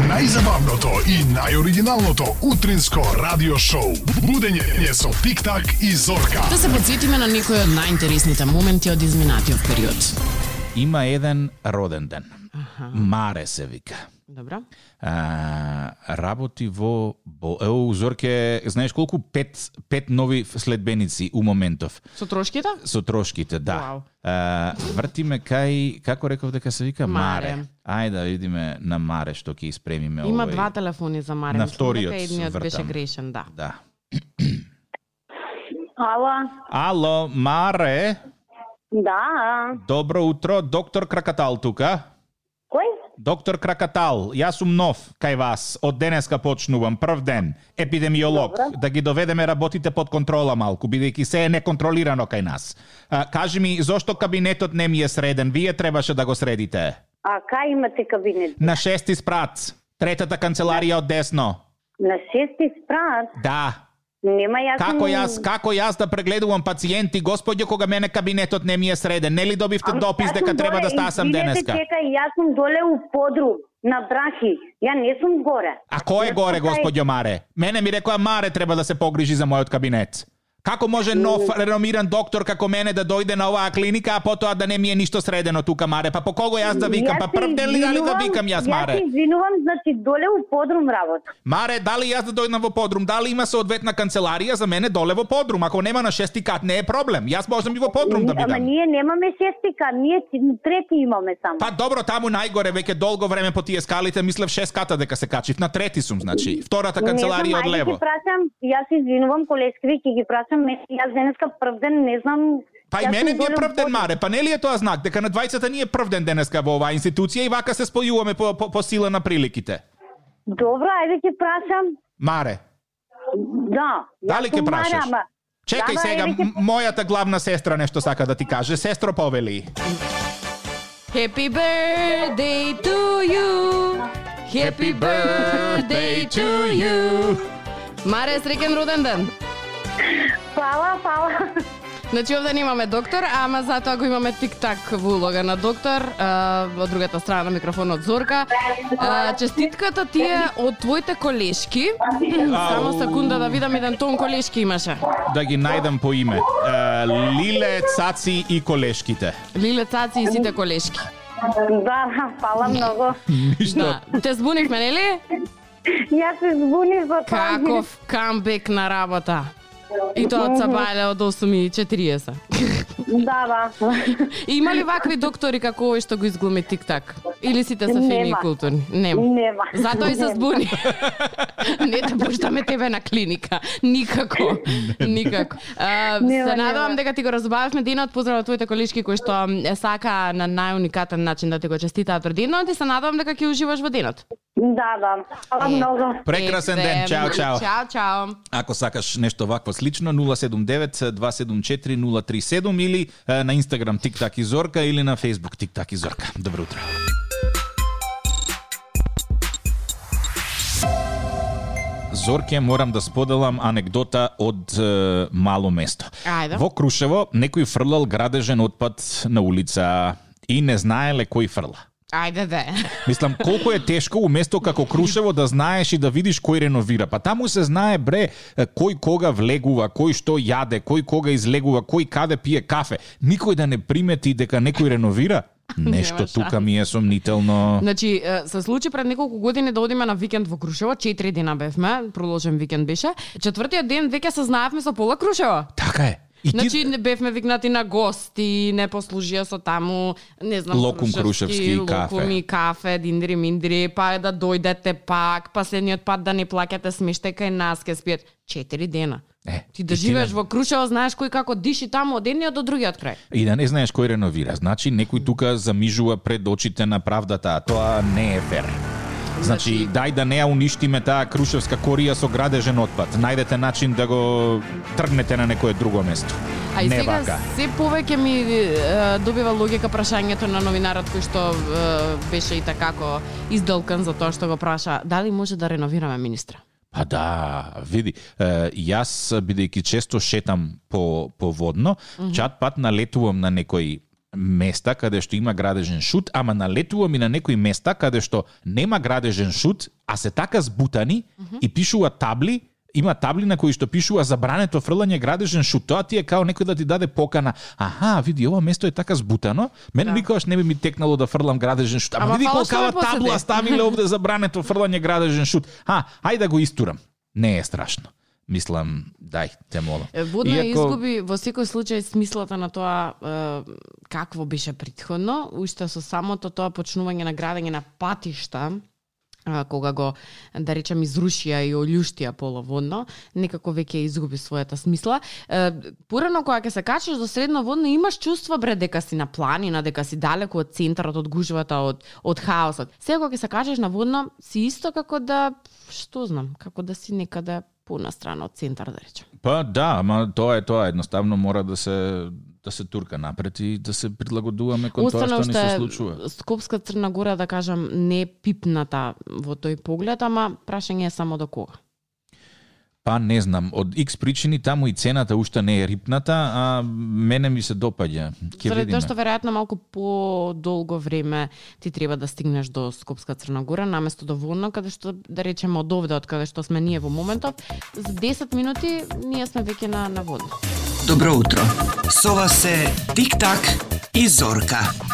Најзабавното и најоригиналното утринско радио шоу. Будење со Тик-так и Зорка. Да се подсетиме на некои од најинтересните моменти од изминатиот период. Има еден роден ден. Маре се вика. Добро. А, работи во Бо- е, у, Зорке, знаеш колку пет пет нови следбеници у моментов Со трошките? со трошките, да. Вау. А, вртиме кај како реков дека се вика Маре. Маре. Ајде да видиме на Маре што ќе испремиме Има овој. два телефони за Марен. На Мислам вториот дека едниот вртам. беше грешен, да. Да. Ала, Ало, Маре, да. добро утро, доктор Кракатал тука. Кој? Доктор Кракатал, јас сум нов кај вас. Од денеска почнувам, прв ден, епидемиолог, Добро. да ги доведеме работите под контрола малку, бидејќи се е неконтролирано кај нас. А, кажи ми, зошто кабинетот не ми е среден? Вие требаше да го средите. А кај имате кабинет? На шести спрат, третата канцеларија од десно. На шести спрат? Да. Нема јас... Како сум- јас, како јас да прегледувам пациенти, господје, кога мене кабинетот не ми е среден? Нели добивте Ама допис јас дека сум треба доле, да стасам извинете, денеска? Чекај, јас сум доле у подрум, на брахи. Ја не сум горе. А кој е Јас горе, сум кај- господјо Маре? Мене ми рекоа Маре треба да се погрижи за мојот кабинет. Како може нов реномиран доктор како мене да дојде на оваа клиника, а потоа да не ми е ништо средено тука, Маре? Па по кого јас да викам? Јас Па се прв ден ли дали да извинувам, викам јас, Маре? Јас се извинувам, значи доле у подрум работа. Маре, дали јас да дојдам во подрум, дали има соодветна канцеларија за мене доле во подрум? Ако нема на шести кат, не е проблем. Јас можам и во подрум да Ама бидам. ние немаме шестика, ние ти- трети имаме само. Па добро, таму најгоре веќе долго време по тие скалите, мислев шест ката дека се качив. На трети сум, значи. Втората Па не канцеларија знам, од ајде лево. Ги прашам, јас извинувам колешките, ќе ги прашам, не, јас денеска прв ден не знам. Па и јас мене сум ми е доле прв во- ден, Маре, па нели е тоа знак дека на 20-та ни е прв ден денеска во оваа институција и вака се спојуваме по, по, по сила на приликите. Добро, ајде ќе прашам. Маре, Да. дали јас сум ќе прашаш? Мара, ама- Чекај Да, ама, сега, еве ќе- м- мојата главна сестра нешто сака да ти каже. Сестро, повели. Happy birthday to you. Happy birthday to you. Маре, среќен роден ден. Фала, фала. Значи овде немаме доктор, ама затоа го имаме тик-так во улога на доктор, а, од другата страна на микрофонот Зорка. А, честитката ти е од твоите колешки. Само секунда да видам еден тон колешки имаше. Да ги најдам по име. Е, Лиле, Цаци и колешките. Лиле Цаци и сите колешки. Да, фала многу. Ништо. Да, те збунивме, нели? Јас се збуних за тоа. Каков камбек на работа. И тоа од Сабајле од 8.40. Да, да. Има ли вакви доктори како овој што го изглуми тик-так? Или сите се фини и Нема. културни? Нема. Нема. Затоа и се Нема. збуни. Не те пуштаме тебе на клиника. Никако. Никако. А, Нема, се надевам нема. дека ти го разбавивме денот. Поздрав од твоите колишки кои што е, сака на најуникатен начин да ти го честитаат роденот и се надевам дека ќе уживаш во денот. Да, да. Фала многу. Прекрасен ден. Чао, чао. Чао, чао. Ако сакаш нешто вакво слично, 079-274-037 или е, на Инстаграм Тик-так и Зорка или на Фейсбук Тик-так и Зорка. Добро утро. Зорке морам да споделам анекдота од е, мало место. Ајде. Во Крушево некој фрлал градежен отпад на улица и не знаеле кој фрла. Ајде де. Мислам, колку е тешко у место како Крушево да знаеш и да видиш кој реновира. Па таму се знае, бре, кој кога влегува, кој што јаде, кој кога излегува, кој каде пие кафе. Никој да не примети дека некој реновира. Нешто Нема шанс. тука ми е сомнително. Значи, е, се случи пред неколку години да одиме на викенд во Крушево, 4 дена бевме, продолжен викенд беше. Четвртиот ден веќе се знаевме со пола Крушево. Така е. И ти... Значи не бевме викнати на гости, не послужија со таму, не знам, Локум крушевски и кафе. локум и кафе, диндри миндри, па да дојдете пак, последниот пат да не плаќате смеште кај нас ке спиет 4 дена. Е, ти да истина. живееш во Крушево, знаеш кој како диши таму од едниот до другиот крај. И да не знаеш кој реновира. Значи, некој тука замижува пред очите на правдата, а тоа не е фер. Значи, дај да не ја уништиме таа крушевска корија со градежен отпад. Најдете начин да го тргнете на некое друго место. А и не сега вака. се повеќе ми е, добива логика прашањето на новинарот кој што е, беше и такако издолкан за тоа што го праша дали може да реновираме министра. Па да, види, е, јас бидејќи често шетам по по водно, чат пат налетувам на некој места каде што има градежен шут, ама налетувам и на некои места каде што нема градежен шут, а се така збутани и пишува табли, има табли на кои што пишува забрането фрлање градежен шут. Тоа ти е као некој да ти даде покана. Аха, види, ова место е така збутано. Мене Да. никогаш не би ми текнало да фрлам градежен шут. Ама, Ама види фала што ме колкава посети. табла ставиле овде забрането фрлање градежен шут. А, ајде да го истурам. Не е страшно. Мислам, дај, те молам. Е, Водно ја изгуби во секој случај смислата на тоа е, какво беше предходно, уште со самото тоа почнување на градење на патишта, а, кога го, да речем, изрушија и олјуштија половодно, некако веќе ја изгуби својата смисла. Е, порано кога ќе се качиш до средно водно, имаш чувство, бре, дека си на планина, дека си далеко од центарот, од гужвата, од, од хаосот. Сега кога ќе се качиш на водно, си исто како да, што знам, како да си некаде понастрана од центар, да речем. Па да, ама тоа е тоа, едноставно мора да се да се турка напред и да се прилагодуваме кон тоа што ни се случува. Скопска Црна Гора, да кажам, не е пипната во тој поглед, ама прашање е само до кога. Па не знам, од X причини таму и цената уште не е рипната, а мене ми се допаѓа. Ќе Заради видиме. тоа што веројатно малку подолго време ти треба да стигнеш до Скопска Црна Гора, наместо до Волно, каде што, да речеме, од овде, од каде што сме ние во моментов, за 10 минути ние сме веќе на, на Волно. Добро утро. Со вас е Тик-так и Зорка.